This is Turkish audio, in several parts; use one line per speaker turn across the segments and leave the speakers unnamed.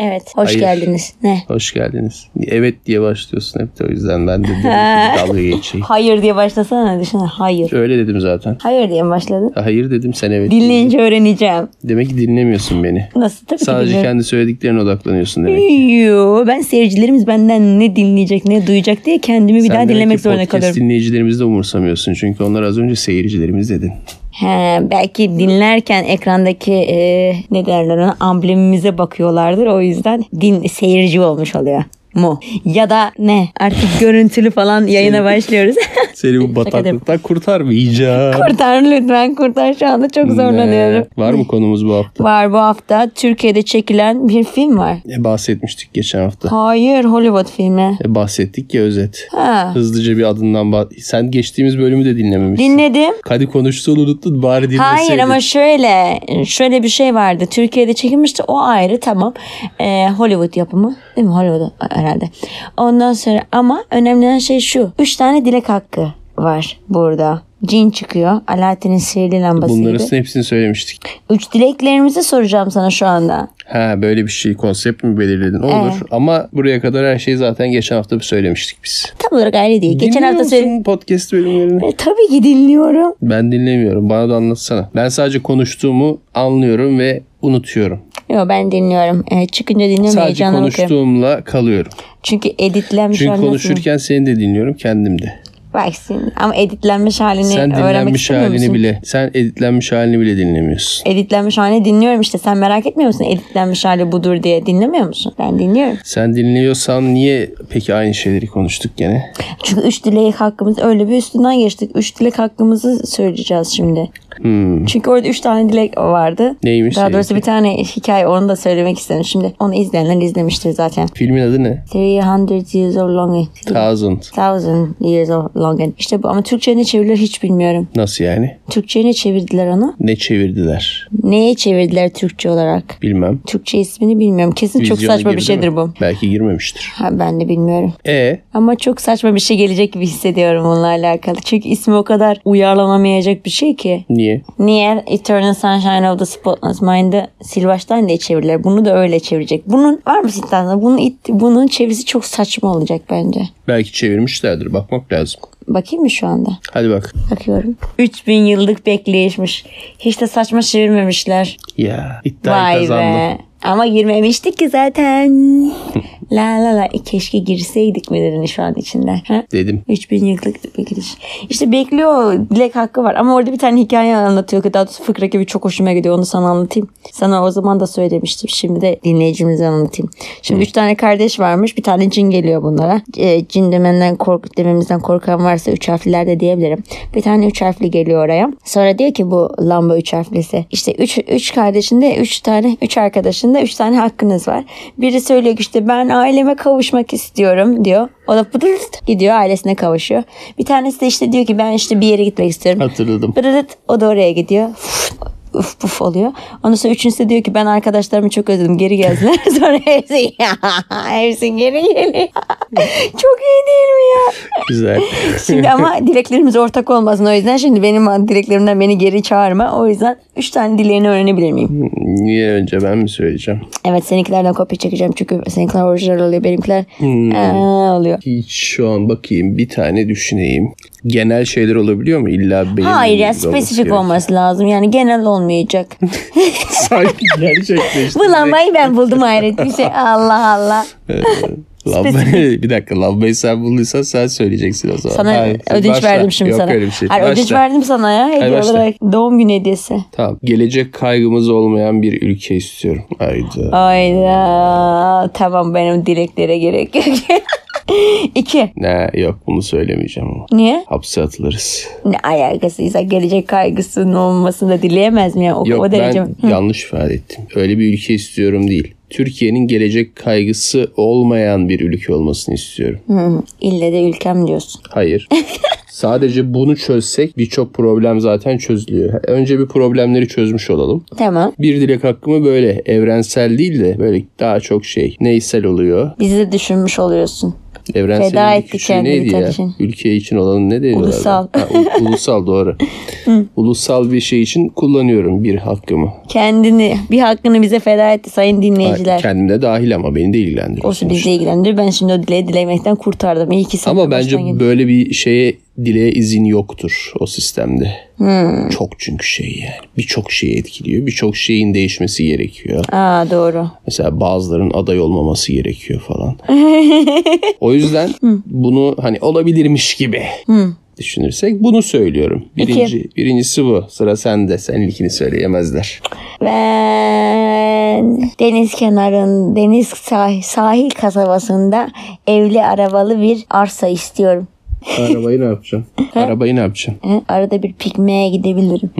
Evet. Hoş
Hayır.
geldiniz. Ne?
Hoş geldiniz. Evet diye başlıyorsun hep de o yüzden ben de dedim ki dalga geçeyim.
Hayır diye başlasana düşünün. Hayır.
Öyle dedim zaten.
Hayır diye mi başladın?
Hayır dedim sen evet. dedin.
Dinleyince öğreneceğim.
Demek ki dinlemiyorsun beni.
Nasıl? Tabii
Sadece
ki
kendi söylediklerine odaklanıyorsun demek.
dinliyorum. Yo, ben seyircilerimiz benden ne dinleyecek ne duyacak diye kendimi bir
Sen
daha
demek ki
dinlemek zorunda
podcast
kalıyorum.
dinleyicilerimizi de umursamıyorsun. Çünkü onlar az önce seyircilerimiz dedin.
He, belki dinlerken ekrandaki e, ne derler ona amblemimize bakıyorlardır. O yüzden din seyirci olmuş oluyor mu? Ya da ne? Artık görüntülü falan yayına başlıyoruz.
Seni bu bataklıktan kurtarmayacağım.
kurtar lütfen kurtar şu anda çok zorlanıyorum.
Ne? Var mı konumuz bu hafta?
Var bu hafta Türkiye'de çekilen bir film var.
E, bahsetmiştik geçen hafta.
Hayır Hollywood filmi.
E, bahsettik ya özet.
Ha.
Hızlıca bir adından bah- Sen geçtiğimiz bölümü de dinlememişsin.
Dinledim.
Hadi konuştuğunu unuttun bari dinleseydin.
Hayır ama şöyle şöyle bir şey vardı. Türkiye'de çekilmişti o ayrı tamam. Ee, Hollywood yapımı değil mi? Hollywood herhalde. Ondan sonra ama önemli olan şey şu. Üç tane dilek hakkı var burada. Cin çıkıyor. Alaaddin'in sihirli lambasıydı.
Bunların hepsini söylemiştik.
Üç dileklerimizi soracağım sana şu anda.
Ha böyle bir şey konsept mi belirledin? Olur. Ama buraya kadar her şeyi zaten geçen hafta bir söylemiştik biz.
Tam olarak ayrı değil. Geçen
Dinliyor
hafta
musun
söyledim.
podcast bölümlerini.
E, tabii ki dinliyorum.
Ben dinlemiyorum. Bana da anlatsana. Ben sadece konuştuğumu anlıyorum ve unutuyorum.
Yo ben dinliyorum. E, çıkınca dinliyorum.
Sadece
heyecanla bakıyorum.
konuştuğumla kalıyorum.
Çünkü editlenmiş
Çünkü
halini nasıl-
konuşurken seni de dinliyorum kendim de.
Bak şimdi ama editlenmiş halini
Sen
öğrenmek
dinlenmiş
istemiyor musun?
halini bile, sen editlenmiş halini bile dinlemiyorsun.
Editlenmiş halini dinliyorum işte. Sen merak etmiyor musun editlenmiş hali budur diye dinlemiyor musun? Ben dinliyorum.
Sen dinliyorsan niye peki aynı şeyleri konuştuk gene?
Çünkü üç dilek hakkımız öyle bir üstünden geçtik. Üç dilek hakkımızı söyleyeceğiz şimdi.
Hmm.
Çünkü orada üç tane dilek vardı.
Neymiş
Daha doğrusu
seninki?
bir tane hikaye onu da söylemek istedim. Şimdi onu izleyenler izlemiştir zaten.
Filmin adı ne?
300 years of longing.
Thousand.
1000 years of longing. İşte bu ama Türkçe'ye ne çevirilir hiç bilmiyorum.
Nasıl yani?
Türkçe'ye ne çevirdiler onu?
Ne çevirdiler?
Neye çevirdiler Türkçe olarak?
Bilmem.
Türkçe ismini bilmiyorum. Kesin çok
Vizyona
saçma bir
girdi
şeydir
mi?
bu.
Belki girmemiştir.
Ha, ben de bilmiyorum.
E
Ama çok saçma bir şey gelecek gibi hissediyorum onunla alakalı. Çünkü ismi o kadar uyarlanamayacak bir şey ki.
niye?
Niye Eternal Sunshine of the Spotless Mind'ı Silvaç'tan diye çevirirler. Bunu da öyle çevirecek. Bunun var mı sizden? Bunun, it- bunun çevirisi çok saçma olacak bence.
Belki çevirmişlerdir. Bakmak lazım.
Bakayım mı şu anda?
Hadi bak.
Bakıyorum. 3000 yıllık bekleyişmiş. Hiç de saçma çevirmemişler.
Ya
Vay
iddiayı kazandım.
be. Ama girmemiştik ki zaten. la la la. E, keşke girseydik mi dedin şu an içinden. Ha?
Dedim.
3000 yıllık bir giriş. İşte bekliyor dilek hakkı var. Ama orada bir tane hikaye anlatıyor ki daha doğrusu fıkra gibi çok hoşuma gidiyor. Onu sana anlatayım. Sana o zaman da söylemiştim. Şimdi de dinleyicimize anlatayım. Şimdi üç tane kardeş varmış. Bir tane cin geliyor bunlara. E, cin demenden kork dememizden korkan varsa üç harfliler de diyebilirim. Bir tane üç harfli geliyor oraya. Sonra diyor ki bu lamba üç harflisi. İşte üç, üç kardeşinde üç tane üç arkadaşında üç tane hakkınız var. Biri söylüyor ki işte ben aileme kavuşmak istiyorum diyor. O da pıdırt gidiyor ailesine kavuşuyor. Bir tanesi de işte diyor ki ben işte bir yere gitmek istiyorum.
Hatırladım.
Pırırıt o da oraya gidiyor. Uf, Uf puf oluyor. Ondan sonra üçüncüsü de diyor ki ben arkadaşlarımı çok özledim. Geri gelsinler. sonra hepsi ya hepsi geri geliyor. çok iyi değil mi ya?
Güzel.
Şimdi ama dileklerimiz ortak olmasın. O yüzden şimdi benim dileklerimden beni geri çağırma. O yüzden üç tane dileğini öğrenebilir miyim?
Hmm. niye önce ben mi söyleyeceğim?
Evet seninkilerden kopya çekeceğim. Çünkü seninkiler orijinal oluyor. Benimkiler
Hmm.
aa, oluyor.
Hiç şu an bakayım bir tane düşüneyim. Genel şeyler olabiliyor mu? İlla benim
Hayır ya
bildiğimiz olması
spesifik
gerekiyor.
olması lazım. Yani genel olmayacak.
Sanki gerçekleşti.
Bu lambayı ben buldum hayret bir şey. Allah Allah.
Lambayı, bir dakika lambayı sen bulduysan sen söyleyeceksin o zaman.
Sana
Hayır,
ödünç
başla.
verdim şimdi
Yok
sana.
öyle bir şey.
Hayır, ödünç
Başla.
verdim sana ya hediye
başla.
olarak. Doğum günü hediyesi.
Tamam. Gelecek kaygımız olmayan bir ülke istiyorum. Hayda.
Ayda tamam benim dileklere gerek yok. İki.
Ne yok bunu söylemeyeceğim ama.
Niye?
Hapse atılırız.
Ne alakasıysa gelecek kaygısının olmasını da dileyemez mi? Yani o,
Yok
o derece.
ben yanlış ifade ettim. Öyle bir ülke istiyorum değil. Türkiye'nin gelecek kaygısı olmayan bir ülke olmasını istiyorum.
Hı, ille de ülkem diyorsun.
Hayır. Sadece bunu çözsek birçok problem zaten çözülüyor. Önce bir problemleri çözmüş olalım.
Tamam.
Bir dilek hakkımı böyle evrensel değil de böyle daha çok şey neysel oluyor.
Bizi de düşünmüş oluyorsun.
Evrensel
Feda
Feda
etti kendini
neydi
vatan
ya?
için.
Ülke için olanı ne diyorlar?
Ulusal.
Ha, u- ulusal doğru. ulusal bir şey için kullanıyorum bir hakkımı.
Kendini bir hakkını bize feda etti sayın dinleyiciler.
Kendim de dahil ama beni de ilgilendiriyor.
Olsun
sonuçta.
bizi ilgilendirir. Ben şimdi o dileği dilemekten kurtardım. İyi ki sen
Ama
de
bence
baştan geldin.
böyle bir şeye dileğe izin yoktur o sistemde. Çok çünkü şey yani. Birçok şeyi etkiliyor. Birçok şeyin değişmesi gerekiyor.
Aa doğru.
Mesela bazıların aday olmaması gerekiyor falan. o yüzden bunu hani olabilirmiş gibi düşünürsek bunu söylüyorum. Birinci, birincisi bu. Sıra sende. Sen ilkini söyleyemezler.
Ben deniz kenarın deniz sah- sahil kasabasında evli arabalı bir arsa istiyorum.
Arabayı ne yapacaksın? Arabayı ne yapacaksın?
Hı? Arada bir pikniğe gidebilirim.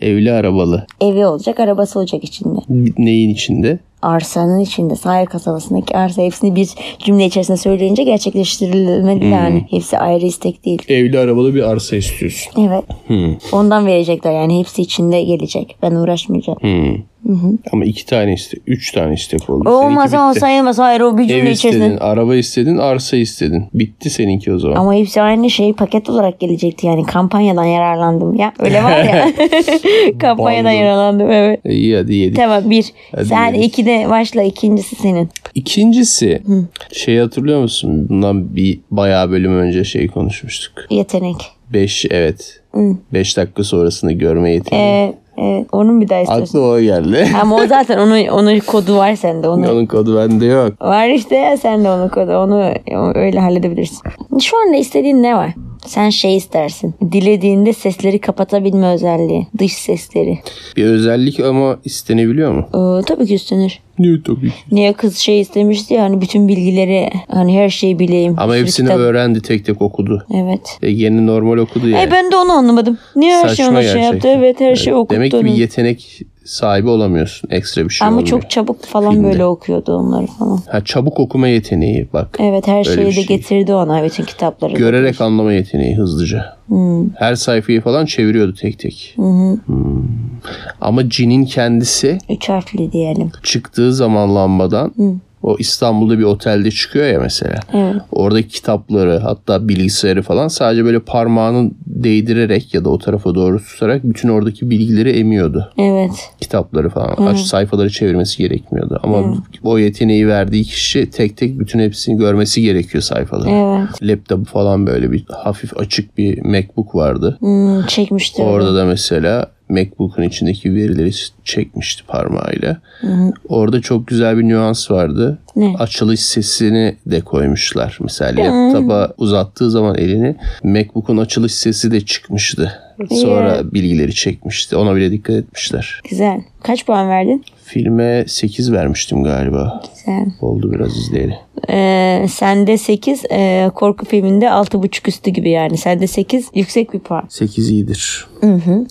Evli arabalı.
Evi olacak, arabası olacak içinde.
Neyin içinde?
Arsanın içinde, sahil kasabasındaki arsa hepsini bir cümle içerisinde söyleyince gerçekleştirilmeli yani. Hepsi ayrı istek değil.
Evli arabalı bir arsa istiyorsun.
Evet. Ondan verecekler yani hepsi içinde gelecek. Ben uğraşmayacağım.
Ama iki tane istek, üç tane istek oldu.
O
Seninki
olmaz ama
bitti.
sayılmaz. Hayır o bir
Ev
cümle içerisinde.
istedin, araba istedin, arsa istedin. Bitti seninki o zaman.
Ama hepsi aynı şey paket olarak gelecekti yani kampanyadan yararlandım ya. Öyle var ya. kampanyadan
Bandım.
yararlandım evet.
İyi E, hadi yedik.
Tamam bir.
Hadi
Sen
yedik.
iki de başla ikincisi senin.
İkincisi şey hatırlıyor musun? Bundan bir bayağı bölüm önce şey konuşmuştuk.
Yetenek.
5 evet. 5 dakika sonrasını görme yeteneği.
Ee, evet, onun bir daha istiyorsun.
Aklıma o geldi.
Ama o zaten onun, onun kodu var sende. Onu.
Onun kodu bende yok.
Var işte ya sende onun kodu. Onu öyle halledebilirsin. Şu anda istediğin ne var? Sen şey istersin. Dilediğinde sesleri kapatabilme özelliği. Dış sesleri.
Bir özellik ama istenebiliyor mu?
Ee, tabii ki üstlenir.
Niye tabii ki.
Niye kız şey istemişti ya hani bütün bilgileri hani her şeyi bileyim.
Ama
Bir sürü
hepsini
kitap-
öğrendi tek tek okudu.
Evet.
E, yeni normal okudu yani.
E ben de onu anlamadım. Niye her şey
Saçma
ona şey yaptı?
gerçekten.
Evet her şey okuttu.
Demek ki bir
onu.
yetenek sahibi olamıyorsun. Ekstra bir şey
Ama
olmuyor.
çok çabuk falan
Filmde.
böyle okuyordu onları falan.
Ha, çabuk okuma yeteneği bak.
Evet her şeyi de
bir şey.
getirdi ona bütün kitapları.
Görerek anlama yeteneği hızlıca. Her sayfayı falan çeviriyordu tek tek. Hmm. Ama cinin kendisi
Üç harfli diyelim.
çıktığı zaman lambadan o İstanbul'da bir otelde çıkıyor ya mesela. Oradaki kitapları hatta bilgisayarı falan sadece böyle parmağını değdirerek ya da o tarafa doğru tutarak bütün oradaki bilgileri emiyordu.
Evet.
Kitapları falan. Aç sayfaları çevirmesi gerekmiyordu. Ama o yeteneği verdiği kişi tek tek bütün hepsini görmesi gerekiyor sayfaları.
Evet.
Laptop falan böyle bir hafif açık bir MacBook vardı.
Hmm, çekmişti. öyle.
Orada da mesela MacBook'un içindeki verileri çekmişti parmağıyla. Orada çok güzel bir nüans vardı.
Ne?
Açılış sesini de koymuşlar. Mesela laptopa uzattığı zaman elini MacBook'un açılış sesi de çıkmıştı. Sonra bilgileri çekmişti. Ona bile dikkat etmişler.
Güzel. Kaç puan verdin?
Filme 8 vermiştim galiba.
Güzel.
Oldu biraz izleyeli.
Ee, sende 8 korku filminde altı buçuk üstü gibi yani. Sende 8 yüksek bir puan.
8 iyidir.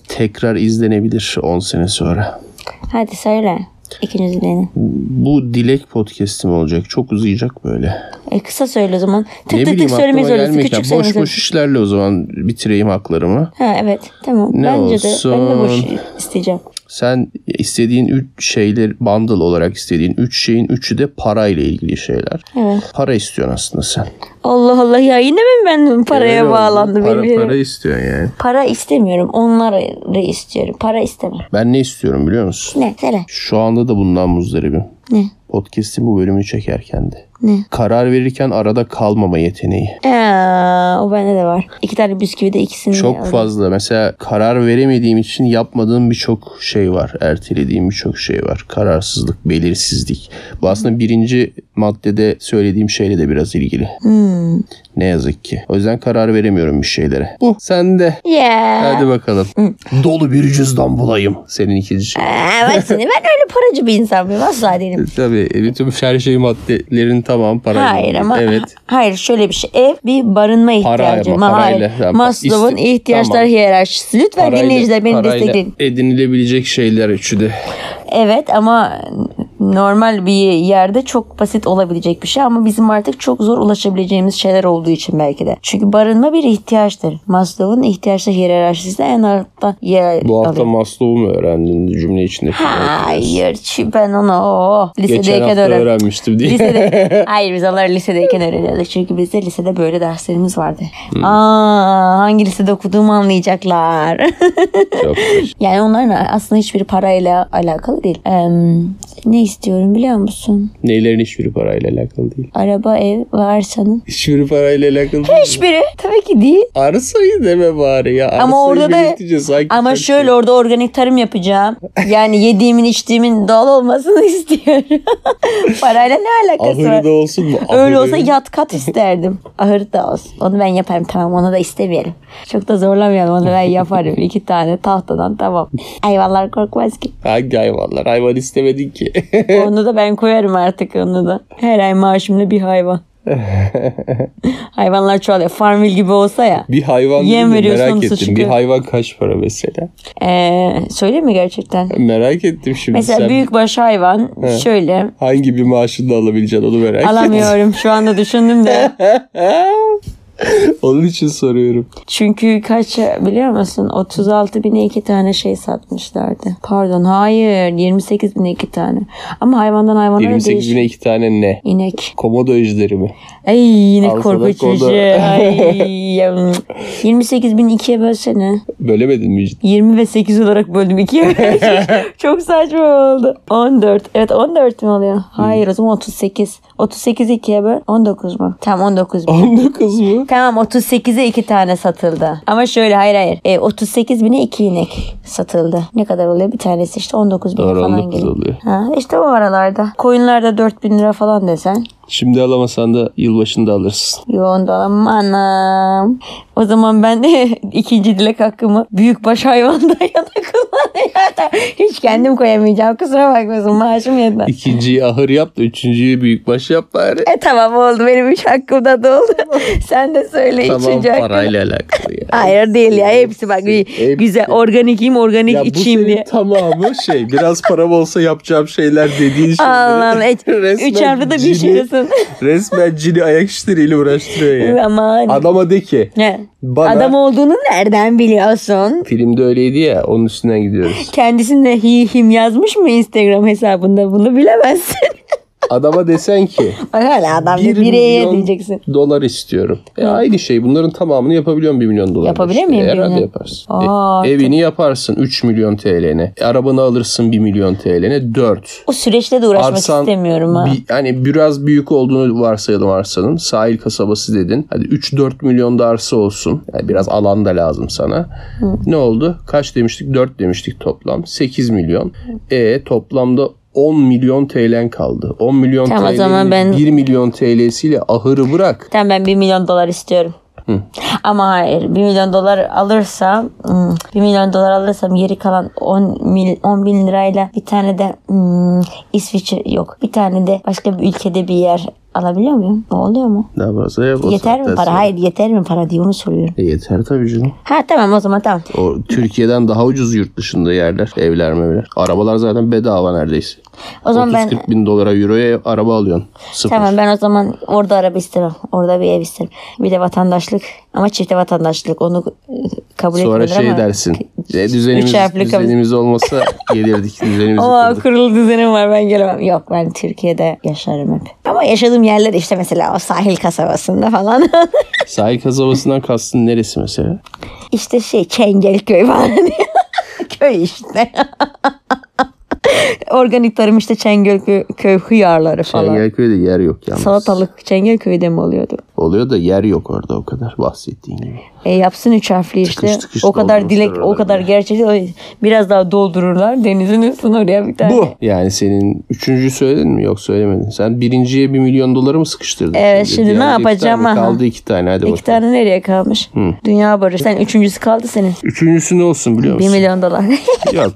Tekrar izlenebilir 10 sene sonra.
Hadi söyle. İkinci dileğini.
Bu Dilek podcast'im olacak. Çok uzayacak böyle.
E, kısa söyle o zaman. Tık
ne
tık
bileyim
tık söylemeyi
aklıma
zorluyorsun.
gelmeyecek.
Küçük
Boş
söylemeyi
boş işlerle o zaman bitireyim haklarımı.
Ha evet tamam.
Ne
Bence de ben de boş
olsun?
isteyeceğim.
Sen istediğin üç şeyler bundle olarak istediğin üç şeyin üçü de parayla ilgili şeyler.
Evet.
Para istiyorsun aslında sen.
Allah Allah ya yine mi ben paraya bağlandım?
Para,
birbirine?
para
Para,
istiyorsun yani.
istemiyorum. Onları istiyorum. Para istemem.
Ben ne istiyorum biliyor musun?
Ne? Söyle.
Şu anda da bundan muzdaribim.
Ne?
Podcast'in bu bölümünü çekerken de. Karar verirken arada kalmama yeteneği.
Aa, Ee, o bende de var. İki tane bisküvi de ikisini
Çok
aldım.
fazla. Mesela karar veremediğim için yapmadığım birçok şey var. Ertelediğim birçok şey var. Kararsızlık, belirsizlik. Bu aslında birinci maddede söylediğim şeyle de biraz ilgili.
Hmm.
Ne yazık ki. O yüzden karar veremiyorum bir şeylere. Bu. Sen de.
Ya.
Hadi bakalım.
Hmm.
Dolu bir cüzdan bulayım. Senin ikinci şey.
Aa, bak Ee, seni ben öyle paracı bir insan mıyım? Asla değilim.
Tabii bütün her şey maddelerin tamam parayla.
Hayır ama
Evet.
hayır şöyle bir şey. Ev bir barınma ihtiyacı.
ama,
Ma-
parayla.
hayır.
Tamam.
Maslow'un
İste-
ihtiyaçlar
Tamam.
hiyerarşisi. Lütfen
Parayla-
dinleyiciler beni
parayla
destekleyin.
Edinilebilecek şeyler üçü de.
Evet ama normal bir yerde çok basit olabilecek bir şey ama bizim artık çok zor ulaşabileceğimiz şeyler olduğu için belki de. Çünkü barınma bir ihtiyaçtır. Maslow'un ihtiyaçlar hiyerarşisinde en altta yer
Bu hafta
alıyor.
Maslow'u mu öğrendin cümle içindeki?
Hayır çi- ben onu oh,
Geçen
lisedeyken
hafta
öğrendim.
öğrenmiştim diye.
Lisede. Hayır biz onları lisedeyken öğreniyorduk. Çünkü bizde lisede böyle derslerimiz vardı.
Hmm.
Aa, hangi lisede okuduğumu anlayacaklar.
Çok hoş.
yani onların aslında hiçbir parayla alakalı değil. Eee, ne istiyorum biliyor musun?
Neylerin hiçbiri parayla alakalı değil.
Araba, ev ve arsanın.
Hiçbiri parayla alakalı değil.
Hiçbiri. Tabii ki değil.
Arsayı deme bari ya. Arsayı
Ama orada da
belirtince sanki
ama
çok
şöyle orada organik tarım yapacağım. Yani yediğimin içtiğimin doğal olmasını istiyorum. Parayla ne
şey.
alakası var?
Ahırı da olsun mu?
Öyle
Ahırı.
olsa yat kat isterdim. Ahır da olsun. Onu ben yaparım tamam onu da istemeyelim. Çok da zorlamayalım onu ben yaparım. İki tane tahtadan tamam. Hayvanlar korkmaz ki.
Hangi hayvanlar? Hayvan istemedin ki.
Onu da ben koyarım artık onu da. Her ay maaşımda bir hayvan. Hayvanlar çoğalıyor. Farmville gibi olsa ya.
bir hayvan
Yem
değil de
veriyorsun,
merak
su
ettim. Bir
çıkıyor.
hayvan kaç para mesela?
Ee, söyleyeyim mi gerçekten?
Merak ettim şimdi
Mesela
sen.
büyükbaş hayvan şöyle
Hangi bir maaşını da alabileceksin onu merak ettim.
alamıyorum şu anda düşündüm de.
Ee? Onun için soruyorum.
Çünkü kaç biliyor musun 36 bine iki tane şey satmışlardı. Pardon hayır 28 bine iki tane. Ama hayvandan hayvana da
28
değişiyor.
bine iki tane ne?
İnek.
Komodo ejderi mi?
Ay yine
Alsa da
korkutucu.
koda.
Ay, yavrum. 28 bin ikiye bölsene.
Bölemedin mi? hiç?
20 ve 8 olarak böldüm ikiye. Çok saçma oldu. 14. Evet 14 mi oluyor? Hayır o zaman 38. 38 ikiye böl. 19 mu? Tamam 19 bin.
19 mu?
Tamam 38'e 2 tane satıldı. Ama şöyle hayır hayır. E, 38 bine 2 inek satıldı. Ne kadar oluyor? Bir tanesi işte 19 bin
Doğru,
falan
19
geliyor.
oluyor.
Ha, işte o aralarda. Koyunlarda 4 bin lira falan desen.
Şimdi alamasan da yılbaşında alırsın.
Yoğun dolanım anam. O zaman ben de ikinci dilek hakkımı büyükbaş hayvandan yana kullanıyorum. Hiç kendim koyamayacağım. Kusura bakmasın maaşım yetmez.
İkinciyi ahır yap da üçüncüyü büyükbaş yap bari.
E tamam oldu benim üç hakkımda da oldu. Sen de söyle
Tamam
üçüncü hakkını.
parayla alakalı ya.
Hayır değil ya. Hepsi bak
Hepsi.
güzel organikiyim organik
Ya bu
içeyim
senin
diye.
tamamı şey biraz param olsa yapacağım şeyler dediğin şeyleri.
Allah'ım et-
Resmen
üç harfli de bir şey
cini-
şeysin.
Resmen cini ayak işleriyle uğraştırıyor ya.
Aman.
Adama de ki
Ne?
bana
Adam olduğunu nereden biliyorsun?
filmde öyleydi ya onun üstünden gidiyoruz.
Kendisine hi him yazmış mı Instagram hesabında bunu bilemezsin.
Adama desen ki
Bak hala adam
bir
bir bireye
milyon
diyeceksin.
dolar istiyorum. E, aynı şey bunların tamamını yapabiliyorum 1 milyon dolar.
Yapabilir miyim bir
Herhalde
milyon?
yaparsın. E,
Aa,
evini yaparsın 3 milyon TL'ne. E, arabanı alırsın 1 milyon TL'ne 4.
O süreçte de uğraşmak istemiyorum ha.
bi- hani biraz büyük olduğunu varsayalım arsanın. Sahil kasabası dedin. Hadi 3-4 milyon da arsa olsun. Yani biraz alan da lazım sana. Ne oldu? Kaç demiştik? 4 demiştik toplam. 8 milyon. E toplamda 10 milyon TL'n kaldı. 10 milyon
Tamam, o
TL'nin
zaman ben-
1 milyon TL'siyle ahırı bırak.
Tamam ben 1 milyon dolar istiyorum. Ama hayır 1 milyon dolar alırsam hmm, 1 milyon dolar alırsam geri kalan 10, mil, 10 bin lirayla bir tane de hmm, İsviçre yok. Bir tane de başka bir ülkede bir yer alabiliyor muyum? O oluyor mu?
Daha fazla yap. o
yeter mi
saatten
para?
sonra.
Hayır yeter mi para diye onu soruyorum.
E, yeter tabii canım.
Ha tamam o zaman tamam.
O Türkiye'den daha ucuz yurt dışında yerler. Evler mevler. Arabalar zaten bedava neredeyse.
O zaman ben
30-40 bin dolara euroya araba alıyorsun. Sıfır.
tamam ben o zaman orada araba istemem. Orada bir ev isterim. Bir de vatandaşlık ama çifte vatandaşlık onu e, kabul
Sonra
etmediler
şey
ama.
dersin. E, düzenimiz,
Üç harfli kabız-
düzenimiz olmasa gelirdik. Düzenimizi
Ama
kırdık.
kurulu düzenim var ben gelemem. Yok ben Türkiye'de yaşarım hep. Ama yaşadığım yerler işte mesela o sahil kasabasında falan.
Sahil kasabasından kastın neresi mesela?
işte şey Çengelköy falan. Köy işte. Organik tarım işte Çengelköy köy hıyarları falan.
Çengelköy'de yer yok yalnız.
Salatalık Çengelköy'de mi oluyordu?
Oluyor da yer yok orada o kadar bahsettiğin gibi.
E yapsın üç harfli işte.
tıkış
o kadar
doldurmuşlar
dilek, o
oraları.
kadar gerçek. Ay, Biraz daha doldururlar. Denizin üstüne oraya bir tane.
Bu. Yani senin üçüncüyü söyledin mi? Yok söylemedin. Sen birinciye bir milyon doları mı sıkıştırdın?
Evet, şimdi ne
Diğerleri iki
yapacağım
tane mi?
aha?
Kaldı iki tane hadi bakalım.
İki tane nereye kalmış? Dünya barış. Sen üçüncüsü kaldı senin.
Üçüncüsü ne olsun biliyor
Bir
musun?
milyon dolar.
Yok.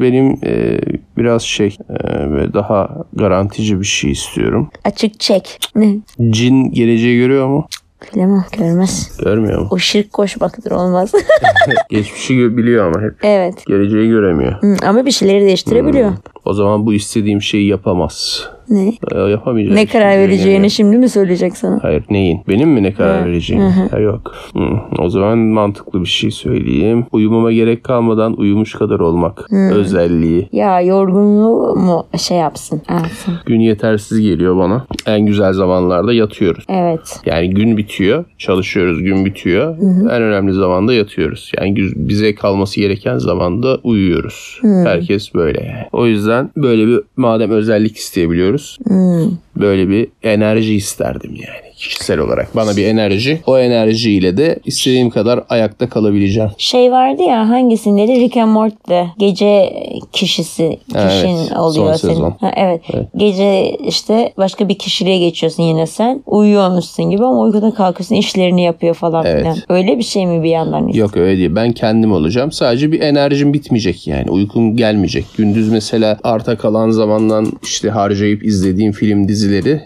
Benim e, biraz şey e, böyle daha garantici bir şey istiyorum.
Açık çek. Ne?
Cin geleceği görüyor mu?
Bilemem görmez.
Görmüyor mu?
O şirk koşmaktır olmaz.
Geçmişi gö- biliyor ama hep.
evet.
Geleceği göremiyor.
Hmm. Hı, Ama bir şeyleri değiştirebiliyor.
O zaman bu istediğim şeyi yapamaz.
Ne?
Ee, yapamayacak.
Ne
hiçbir
karar
şey
vereceğini
önemli.
şimdi mi söyleyecek sana?
Hayır neyin? Benim mi ne karar vereceğim? Ha, yok. Hı, O zaman mantıklı bir şey söyleyeyim. Uyumama gerek kalmadan uyumuş kadar olmak. Özelliği.
Ya yorgunluğu mu şey yapsın? alsın.
Gün yetersiz geliyor bana. En güzel zamanlarda yatıyoruz.
Evet.
Yani gün bitiyor, çalışıyoruz, gün bitiyor. En önemli zamanda yatıyoruz. Yani güz- bize kalması gereken zamanda uyuyoruz. Herkes böyle. yani. O yüzden böyle bir madem özellik isteyebiliyoruz, böyle bir enerji isterdim yani kişisel olarak. Bana bir enerji, o enerjiyle de istediğim kadar ayakta kalabileceğim.
Şey vardı ya hangisinde de Rick and Morty'de gece kişisi kişin
Evet,
oluyor
son
senin.
sezon.
Ha, evet. Gece işte başka bir kişiliğe geçiyorsun yine sen. Uyuyormuşsun gibi ama uykudan kalkıyorsun işlerini yapıyor falan
Evet.
filan. Öyle bir şey mi bir yandan?
Yok öyle değil. Ben kendim olacağım. Sadece bir enerjim bitmeyecek yani. Uykum gelmeyecek. Gündüz mesela arta kalan zamandan işte harcayıp izlediğim film dizileri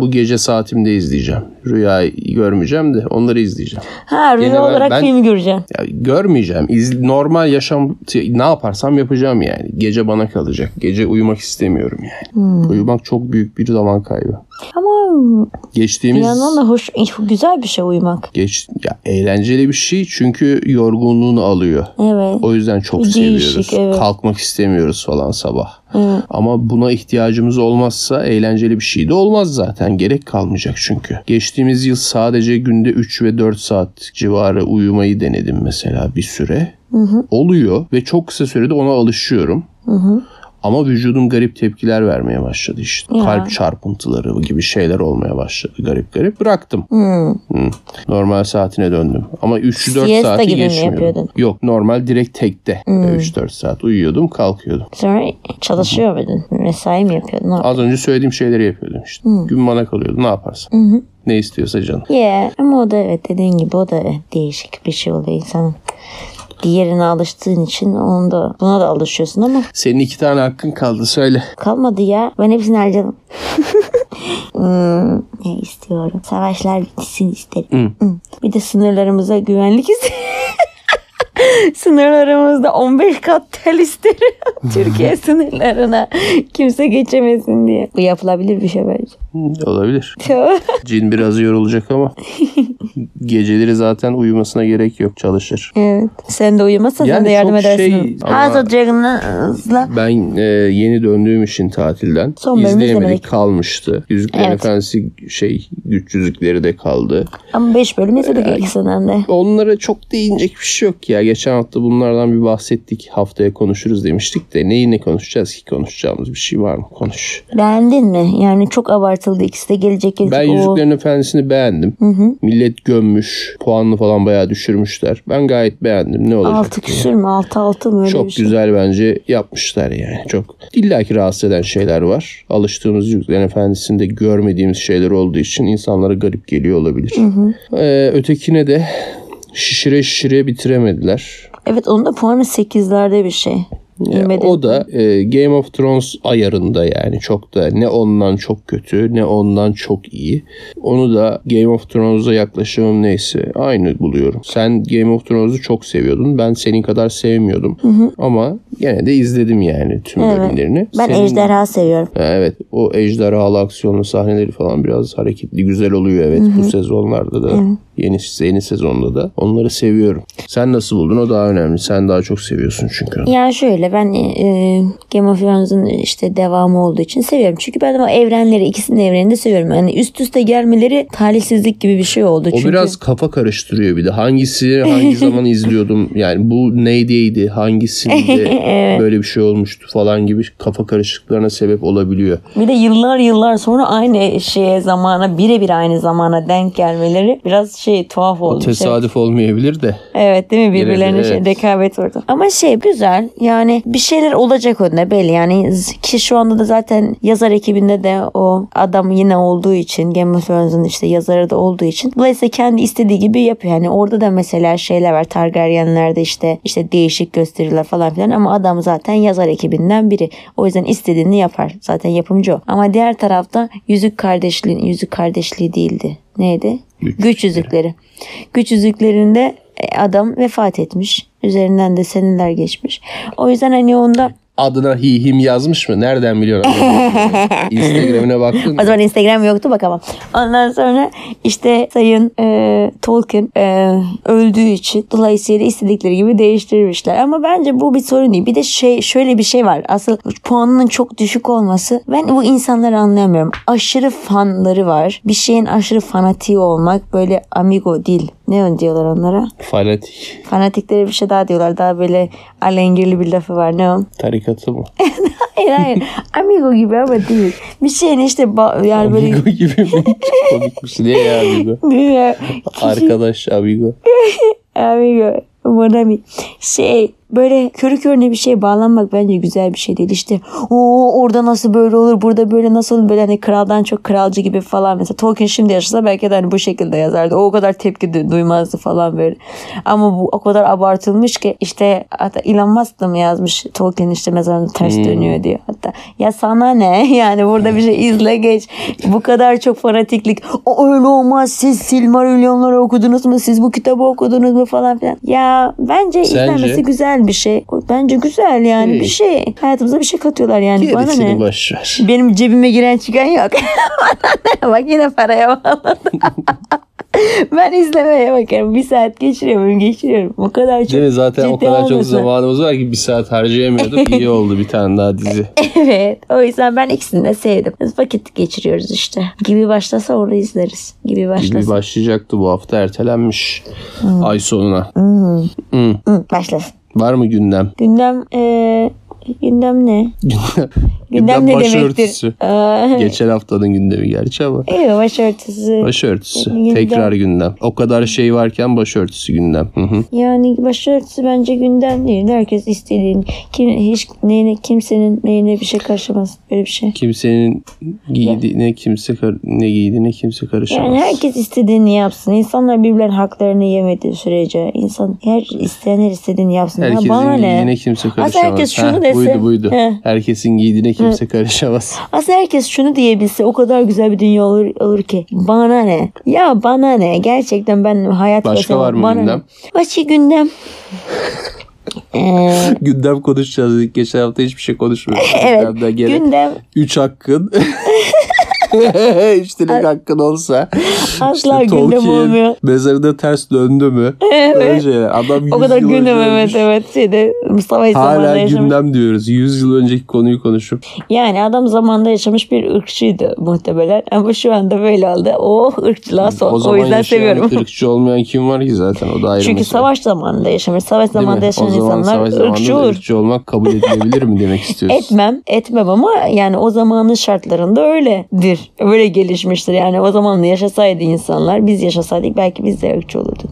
bu gece saatimde izleyeceğim. Rüyayı görmeyeceğim de onları izleyeceğim.
Ha
Yine ben-
rüya olarak
ben-
film göreceksin.
Ya görmeyeceğim. İz, normal yaşam ne yaparsam yapacağım yani. Gece bana kalacak. Gece uyumak istemiyorum yani. Uyumak çok büyük bir zaman kaybı.
Ama bir
Geçtiğimiz
yandan da hoş, güzel bir şey uyumak.
geç ya eğlenceli bir şey çünkü yorgunluğunu alıyor.
Evet.
O yüzden çok
Bir değişik,
seviyoruz.
evet.
Kalkmak istemiyoruz falan sabah. Ama buna ihtiyacımız olmazsa eğlenceli bir şey de olmaz zaten. Gerek kalmayacak çünkü. Geçtiğimiz yıl sadece günde 3 ve 4 saat civarı uyumayı denedim mesela bir süre. Oluyor ve çok kısa sürede ona alışıyorum. Ama vücudum garip tepkiler vermeye başladı işte.
Ya.
Kalp çarpıntıları gibi şeyler olmaya başladı garip garip. Bıraktım. Hı. Normal saatine döndüm. Ama 3-4
Siesta
saati
gibi mi
geçmiyordum.
yapıyordun? Hmm.
Yok normal direkt tekte. 3-4 saat uyuyordum kalkıyordum.
Sonra çalışıyor muydun? Mesai mi yapıyordun? Ne
Az önce söylediğim şeyleri yapıyordum işte.
Hmm.
Gün bana kalıyordu ne yaparsan. Ne istiyorsa canım.
Yeah. Ama o da evet dediğin gibi o da değişik bir şey oluyor insanın. Diğerine alıştığın için onu da buna da alışıyorsun ama
Senin iki tane hakkın kaldı söyle.
kalmadı ya. Ben hepsini harcadım. Hmm, ne istiyorum? Savaşlar bitsin isterim. Hmm. Bir de sınırlarımıza güvenlik isterim. Sınırlarımızda 15 kat tel isterim. Türkiye sınırlarına kimse geçemesin diye. Bu yapılabilir bir şey bence.
Hı, Hmm, Olabilir. Cin biraz yorulacak ama geceleri zaten uyumasına gerek yok çalışır.
Evet. Sen de uyumazsan
Yani
sen de yardım
çok şey
edersin.
ama-
House of Dragons'la
Ben e, yeni döndüğüm için tatilden
Son bölümü
izleyemedik
izlemedik.
kalmıştı. Yüzüklerin
Evet.
Efendisi şey güç yüzükleri de kaldı.
ama 5 bölüm izledik ikisinden de.
Onlara çok değinecek bir şey yok ya. Geçen hafta bunlardan bir bahsettik. Haftaya konuşuruz demiştik de neyi ne konuşacağız ki konuşacağımız bir şey var mı? Konuş.
Beğendin mi? Yani çok abartıldı. İkisi de gelecek gelecek.
Ben
Oo.
Yüzüklerin Efendisi'ni beğendim. Millet gömmüş. Puanını falan bayağı düşürmüşler. Ben gayet beğendim. Ne olacak?
Altı küsür mü? Altı altı mı? Öyle
Çok
bir şey.
güzel bence yapmışlar yani. Çok illaki rahatsız eden şeyler var. Alıştığımız Yüzüklerin Efendisi'nde görmediğimiz şeyler olduğu için insanlara garip geliyor olabilir. Ee, ötekine de şişire şişire bitiremediler.
Evet onun da puanı 8'lerde bir şey.
Ee,
Bilmedim.
O da e, Game of Thrones ayarında yani çok da ne ondan çok kötü ne ondan çok iyi. Onu da Game of Thrones'a yaklaşımım neyse aynı buluyorum. Sen Game of Thrones'u çok seviyordun. Ben senin kadar sevmiyordum. Ama gene de izledim yani tüm bölümlerini.
Ben
Senin-
ejderha seviyorum.
Ha, Evet o ejderhalı aksiyonlu sahneleri falan biraz hareketli güzel oluyor evet bu sezonlarda da. Yeni, yeni sezonda da onları seviyorum. Sen nasıl buldun o daha önemli. Sen daha çok seviyorsun çünkü.
Yani şöyle ben e, Game of Thrones'un işte devamı olduğu için seviyorum. Çünkü ben o evrenleri ikisinin evrenini de seviyorum. Yani üst üste gelmeleri talihsizlik gibi bir şey oldu.
O
Çünkü
biraz kafa karıştırıyor bir de. Hangisi hangi zaman izliyordum? Yani bu neydiydi? Hangisinde böyle bir şey olmuştu falan gibi kafa karışıklarına sebep olabiliyor.
Bir de yıllar yıllar sonra aynı şeye zamana birebir aynı zamana denk gelmeleri biraz şey tuhaf olmuş.
Tesadüf olmayabilir de.
Evet değil mi birbirlerine
Birebir,
şey,
evet.
rekabet orada. Ama şey güzel yani bir şeyler olacak önüne belli yani z- ki şu anda da zaten yazar ekibinde de o adam yine olduğu için Game of Thrones'un işte yazarı da olduğu için dolayısıyla kendi istediği gibi yapıyor. Yani orada da mesela şeyler var Targaryenlerde işte işte değişik gösteriler falan filan ama adam zaten yazar ekibinden biri. O yüzden istediğini yapar. Zaten yapımcı o. Ama diğer tarafta Yüzük Kardeşliği Yüzük Kardeşliği değildi. Neydi?
Güç
Güç yüzükleri. Güç yüzüklerinde e, adam vefat etmiş. Üzerinden de seneler geçmiş. O yüzden hani onda
adına hihim yazmış mı? Nereden biliyorsun? Instagram'ına baktın
O
mı?
zaman Instagram yoktu bakamam. Ondan sonra işte Sayın e, Tolkien e, öldüğü için dolayısıyla istedikleri gibi değiştirmişler. Ama bence bu bir sorun değil. Bir de şey şöyle bir şey var. Asıl puanının çok düşük olması. Ben bu insanları anlayamıyorum. Aşırı fanları var. Bir şeyin aşırı fanatiği olmak böyle amigo değil. Ne diyorlar onlara?
Fanatik.
Fanatiklere bir şey daha diyorlar. Daha böyle alengirli bir lafı var. Ne o?
Tarikatı mı?
Hayır hayır. Amigo gibi ama değil. Bir şeyin işte ba- yani böyle
Amigo gibi mi? Çok komikmiş. Niye ya Amigo?
Bilmiyorum.
Arkadaş Amigo.
Amigo. Monami. Şey böyle körü körüne bir şeye bağlanmak bence güzel bir şey değil. İşte o orada nasıl böyle olur burada böyle nasıl olur?" böyle hani kraldan çok kralcı gibi falan. Mesela Tolkien şimdi yaşasa belki de hani bu şekilde yazardı. O, o kadar tepki du- duymazdı falan böyle. Ama bu o kadar abartılmış ki işte hatta Elon Musk da mı yazmış Tolkien işte mezarında ters
Hmm.
dönüyor diyor. Hatta ya sana ne yani burada bir şey izle geç. Bu kadar çok fanatiklik. O öyle olmaz siz Silmarillionları okudunuz mu siz bu kitabı okudunuz mu falan filan. Ya bence
Sence?
izlenmesi güzel bir şey. Bence güzel yani
İyi.
bir şey. Hayatımıza bir şey katıyorlar yani. Bana ne?
Gerisini boş ver.
Benim cebime giren çıkan yok. Bak yine paraya bağladım. ben izlemeye bakarım. Bir saat geçiriyorum, geçiriyorum. O kadar çok.
Değil mi? Zaten o
ciddi
kadar çok
olmasın.
zamanımız var ki bir saat harcayamıyorduk. İyi oldu bir tane daha dizi.
Evet. O yüzden ben ikisini de sevdim. Biz vakit geçiriyoruz işte. Gibi başlasa onu izleriz. Gibi başlasın.
Gibi başlayacaktı bu hafta ertelenmiş. Ay sonuna. Hı.
Hı, başlasın.
Var mı gündem?
Gündem eee, gündem ne?
Gündem,
Gündem ne
başörtüsü.
demektir? Aa,
Geçen haftanın gündemi gerçi ama.
Evet başörtüsü.
Başörtüsü.
Gündem.
Tekrar gündem. O kadar şey varken başörtüsü gündem. Hı hı.
Yani başörtüsü bence gündem değil. Herkes istediğin, kim, hiç neyine, kimsenin neyine bir şey karışamaz. Böyle bir şey.
Kimsenin giydiğine kimse kar- ne giydiğine kimse karışamaz.
Yani herkes istediğini yapsın. İnsanlar birbirlerinin haklarını yemediği sürece insan her isteyen her istediğini yapsın. Ya
Herkesin
bana ne?
giydiğine kimse karışamaz.
herkes şunu
Heh,
dese-
Buydu buydu.
Heh.
Herkesin giydiğine kimse karışamaz.
Aslında herkes şunu diyebilse o kadar güzel bir dünya olur, olur ki. Bana ne? Ya bana ne? Gerçekten ben hayat
Başka
yaşamam.
var mı
Bana
gündem?
ne? Başka gündem. Ee,
gündem konuşacağız dedik. Geçen hafta hiçbir şey konuşmuyoruz.
evet.
Gündemden gene
Gündem.
3 hakkın. 3 dilek hakkın olsa.
Asla gündem olmuyor.
Mezarında ters döndü mü?
Evet.
Böyle şeyler. Adam yüz
O kadar
yıl
gündem
önce
evet
ölmüş.
evet. Şeyde, Mustafa zamanında
Hala
yaşamış.
gündem diyoruz. 100 yıl önceki konuyu konuşup.
Yani adam zamanında yaşamış bir ırkçıydı muhtemelen. Ama şu anda böyle oldu. Oh ırkçılığa son.
o
O,
zaman
yüzden
yaşayan
seviyorum.
ırkçı olmayan kim var ki zaten o da ayrı
Çünkü
mesele.
savaş zamanında yaşamış. Savaş
Değil mi?
zamanında yaşayan
O zaman
insanlar
savaş zamanında
ırkçı
da
olur.
ırkçı olmak kabul edilebilir mi demek istiyorsun?
Etmem. Etmem ama yani o zamanın şartlarında öyledir. Öyle gelişmiştir. Yani o zamanla yaşasaydı insanlar biz yaşasaydık belki biz de ırkçı olurduk.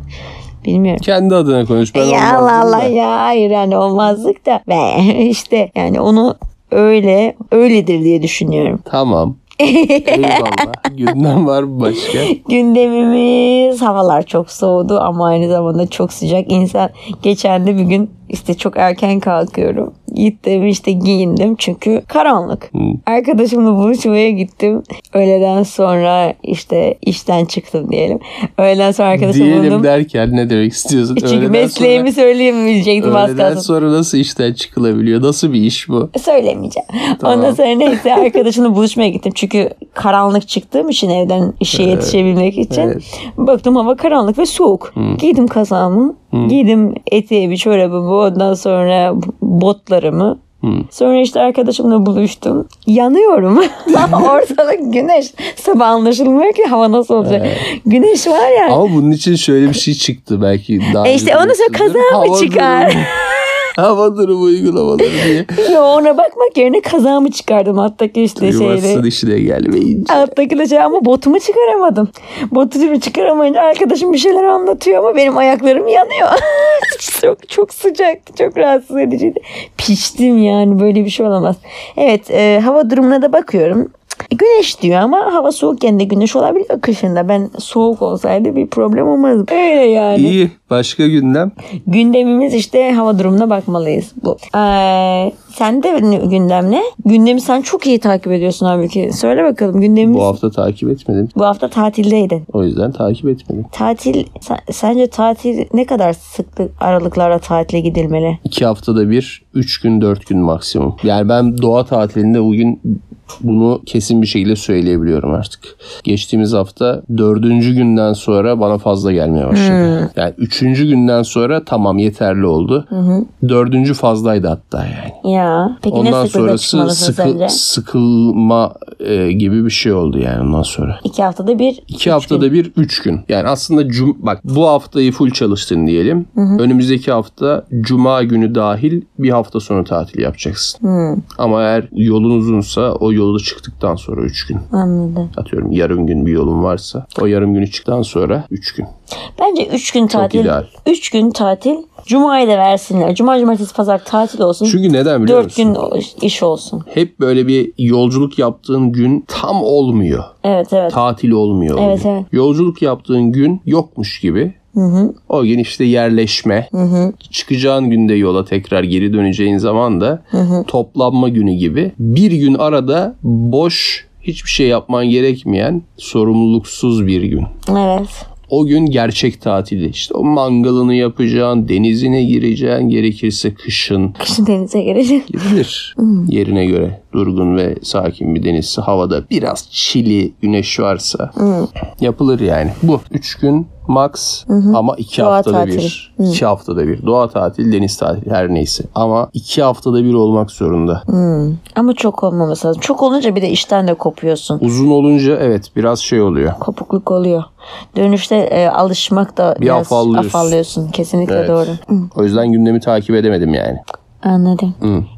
Bilmiyorum.
Kendi adına konuş. Ben
ya
olmazdım
Allah Allah
da.
ya hayır yani olmazlık da be işte yani onu öyle öyledir diye düşünüyorum.
Tamam. Eyvallah. Gündem var mı başka?
Gündemimiz havalar çok soğudu ama aynı zamanda çok sıcak. İnsan geçen de bir gün işte çok erken kalkıyorum. Gittim işte giyindim çünkü karanlık. Arkadaşımla buluşmaya gittim. Öğleden sonra işte işten çıktım diyelim. Öğleden sonra arkadaşımı
Diyelim
buldum.
derken ne demek istiyorsun?
çünkü
Öğleden
mesleğimi söyleyemeyecektim
sonra,
az
öğleden
kalsın.
sonra nasıl işten çıkılabiliyor? Nasıl bir iş bu?
Söylemeyeceğim.
Tamam.
Ondan sonra neyse arkadaşımla buluşmaya gittim. Çünkü karanlık çıktığım için evden işe yetişebilmek için.
evet.
Baktım hava karanlık ve soğuk. Giydim kazağımı. Giydim eteğimi, çorabımı. Ondan sonra botlarımı. Sonra işte arkadaşımla buluştum. Yanıyorum. Ortalık güneş. Sabah anlaşılmıyor ki hava nasıl olacak. Güneş var ya.
Ama bunun için şöyle bir şey çıktı belki. Daha
E işte onu sonra kaza
duymuşsundur.
mı
Hava
çıkar?
durumu- hava durumu uygulamaları diye.
Yo, ona bakmak yerine kazağımı çıkardım alttaki işte şeyleri.
Yuvarlasın işine gelmeyince.
Alttaki de şey ama botumu çıkaramadım. Botumu çıkaramayınca arkadaşım bir şeyler anlatıyor ama benim ayaklarım yanıyor. çok, çok sıcaktı. Çok rahatsız ediciydi. Piştim yani böyle bir şey olamaz. Evet e, hava durumuna da bakıyorum. Güneş diyor ama hava soğukken de güneş olabiliyor kışında. Ben soğuk olsaydı bir problem olmazdı. Öyle yani.
İyi. Başka gündem.
Gündemimiz işte hava durumuna bakmalıyız bu. Ee, sen de ne- gündem ne? Gündemi sen çok iyi takip ediyorsun halbuki. Söyle bakalım gündemimiz
Bu hafta takip etmedim.
bu hafta tatildeydin.
O yüzden takip etmedim.
Tatil sen- sence tatil ne kadar sıklık aralıklarla tatile gidilmeli?
İki haftada bir, üç gün, dört gün maksimum. Yani ben doğa tatilinde bugün bunu kesin bir şekilde söyleyebiliyorum artık. Geçtiğimiz hafta dördüncü günden sonra bana fazla gelmeye başladı.
Hmm.
Yani üçüncü günden sonra tamam yeterli oldu. Dördüncü fazlaydı hatta yani.
Ya peki
Ondan
ne sıklıkla
sonrası
çıkmalısın
sıkı-
sence?
sıkılma e, gibi bir şey oldu yani ondan sonra.
İki haftada bir.
İki haftada bir, üç gün. Yani aslında cum bak bu haftayı full çalıştın diyelim. Önümüzdeki hafta cuma günü dahil bir hafta sonu tatil yapacaksın. Ama eğer yolun uzunsa o yolu çıktıktan sonra üç gün.
Anladım.
Atıyorum yarım gün bir yolun varsa o yarım günü çıktıktan sonra üç gün.
Bence üç gün tatil.
ideal.
Üç gün tatil. Cuma'yı da versinler. Cuma, cumartesi, pazar tatil olsun.
Çünkü neden biliyor
Dört
musun?
gün o- iş olsun.
Hep böyle bir yolculuk yaptığın gün tam olmuyor.
Evet evet.
tatil olmuyor. o
Evet,
gün.
evet.
Yolculuk yaptığın gün yokmuş gibi. O gün işte yerleşme, çıkacağın günde yola tekrar geri döneceğin zaman da toplanma günü gibi. Bir gün arada boş, hiçbir şey yapman gerekmeyen, sorumluluksuz bir gün.
Evet.
O gün gerçek tatili. İşte o mangalını yapacaksın, denizine gireceksin, gerekirse kışın
Kışın denize gireceğim.
gidilir
Hmm.
yerine göre. Durgun ve sakin bir denizse havada biraz çili güneş varsa
Hmm.
yapılır yani. Bu 3 gün max ama 2
Doğa
haftada
tatili. Hmm.
bir. 2 haftada bir. Doğa tatili, deniz tatili her neyse. Ama 2 haftada bir olmak zorunda.
Hmm. Ama çok olmaması lazım. Çok olunca bir de işten de kopuyorsun.
Uzun olunca evet biraz şey oluyor.
Kopukluk oluyor. Dönüşte e, alışmak da biraz
afallıyorsun.
afallıyorsun. Kesinlikle
Evet.
doğru.
O yüzden gündemi takip edemedim yani.
Anladım.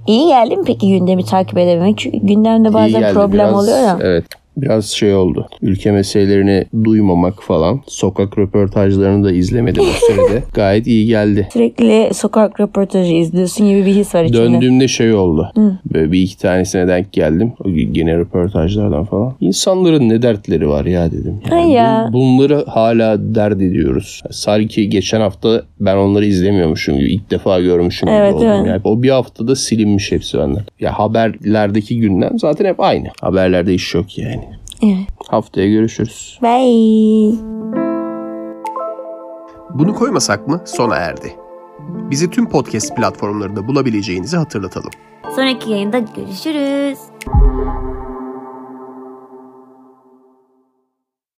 İyi geldi mi peki gündemi takip edememek? Çünkü gündemde
İyi
bazen
geldi,
problem
biraz-
oluyor ya.
Evet. Biraz şey oldu. Ülke meselelerini duymamak falan. Sokak röportajlarını da izlemedim o sürede. Gayet iyi geldi.
Sürekli sokak röportajı izliyorsun gibi bir his var içinde.
Döndüğümde şey oldu. Böyle bir iki tanesine denk geldim. O gene röportajlardan falan. İnsanların ne dertleri var ya dedim. Yani
Ay ya.
bun- bunları hala dert ediyoruz. Sanki geçen hafta ben onları izlemiyormuşum gibi. ilk defa görmüşüm
Evet,
gibi oldum.
evet.
Yani o bir haftada silinmiş hepsi benden. Ya haberlerdeki gündem zaten hep aynı. Haberlerde iş yok yani.
Evet.
Haftaya görüşürüz.
Bye.
Bunu koymasak mı sona erdi. Bizi tüm podcast platformlarında bulabileceğinizi hatırlatalım.
Sonraki yayında görüşürüz.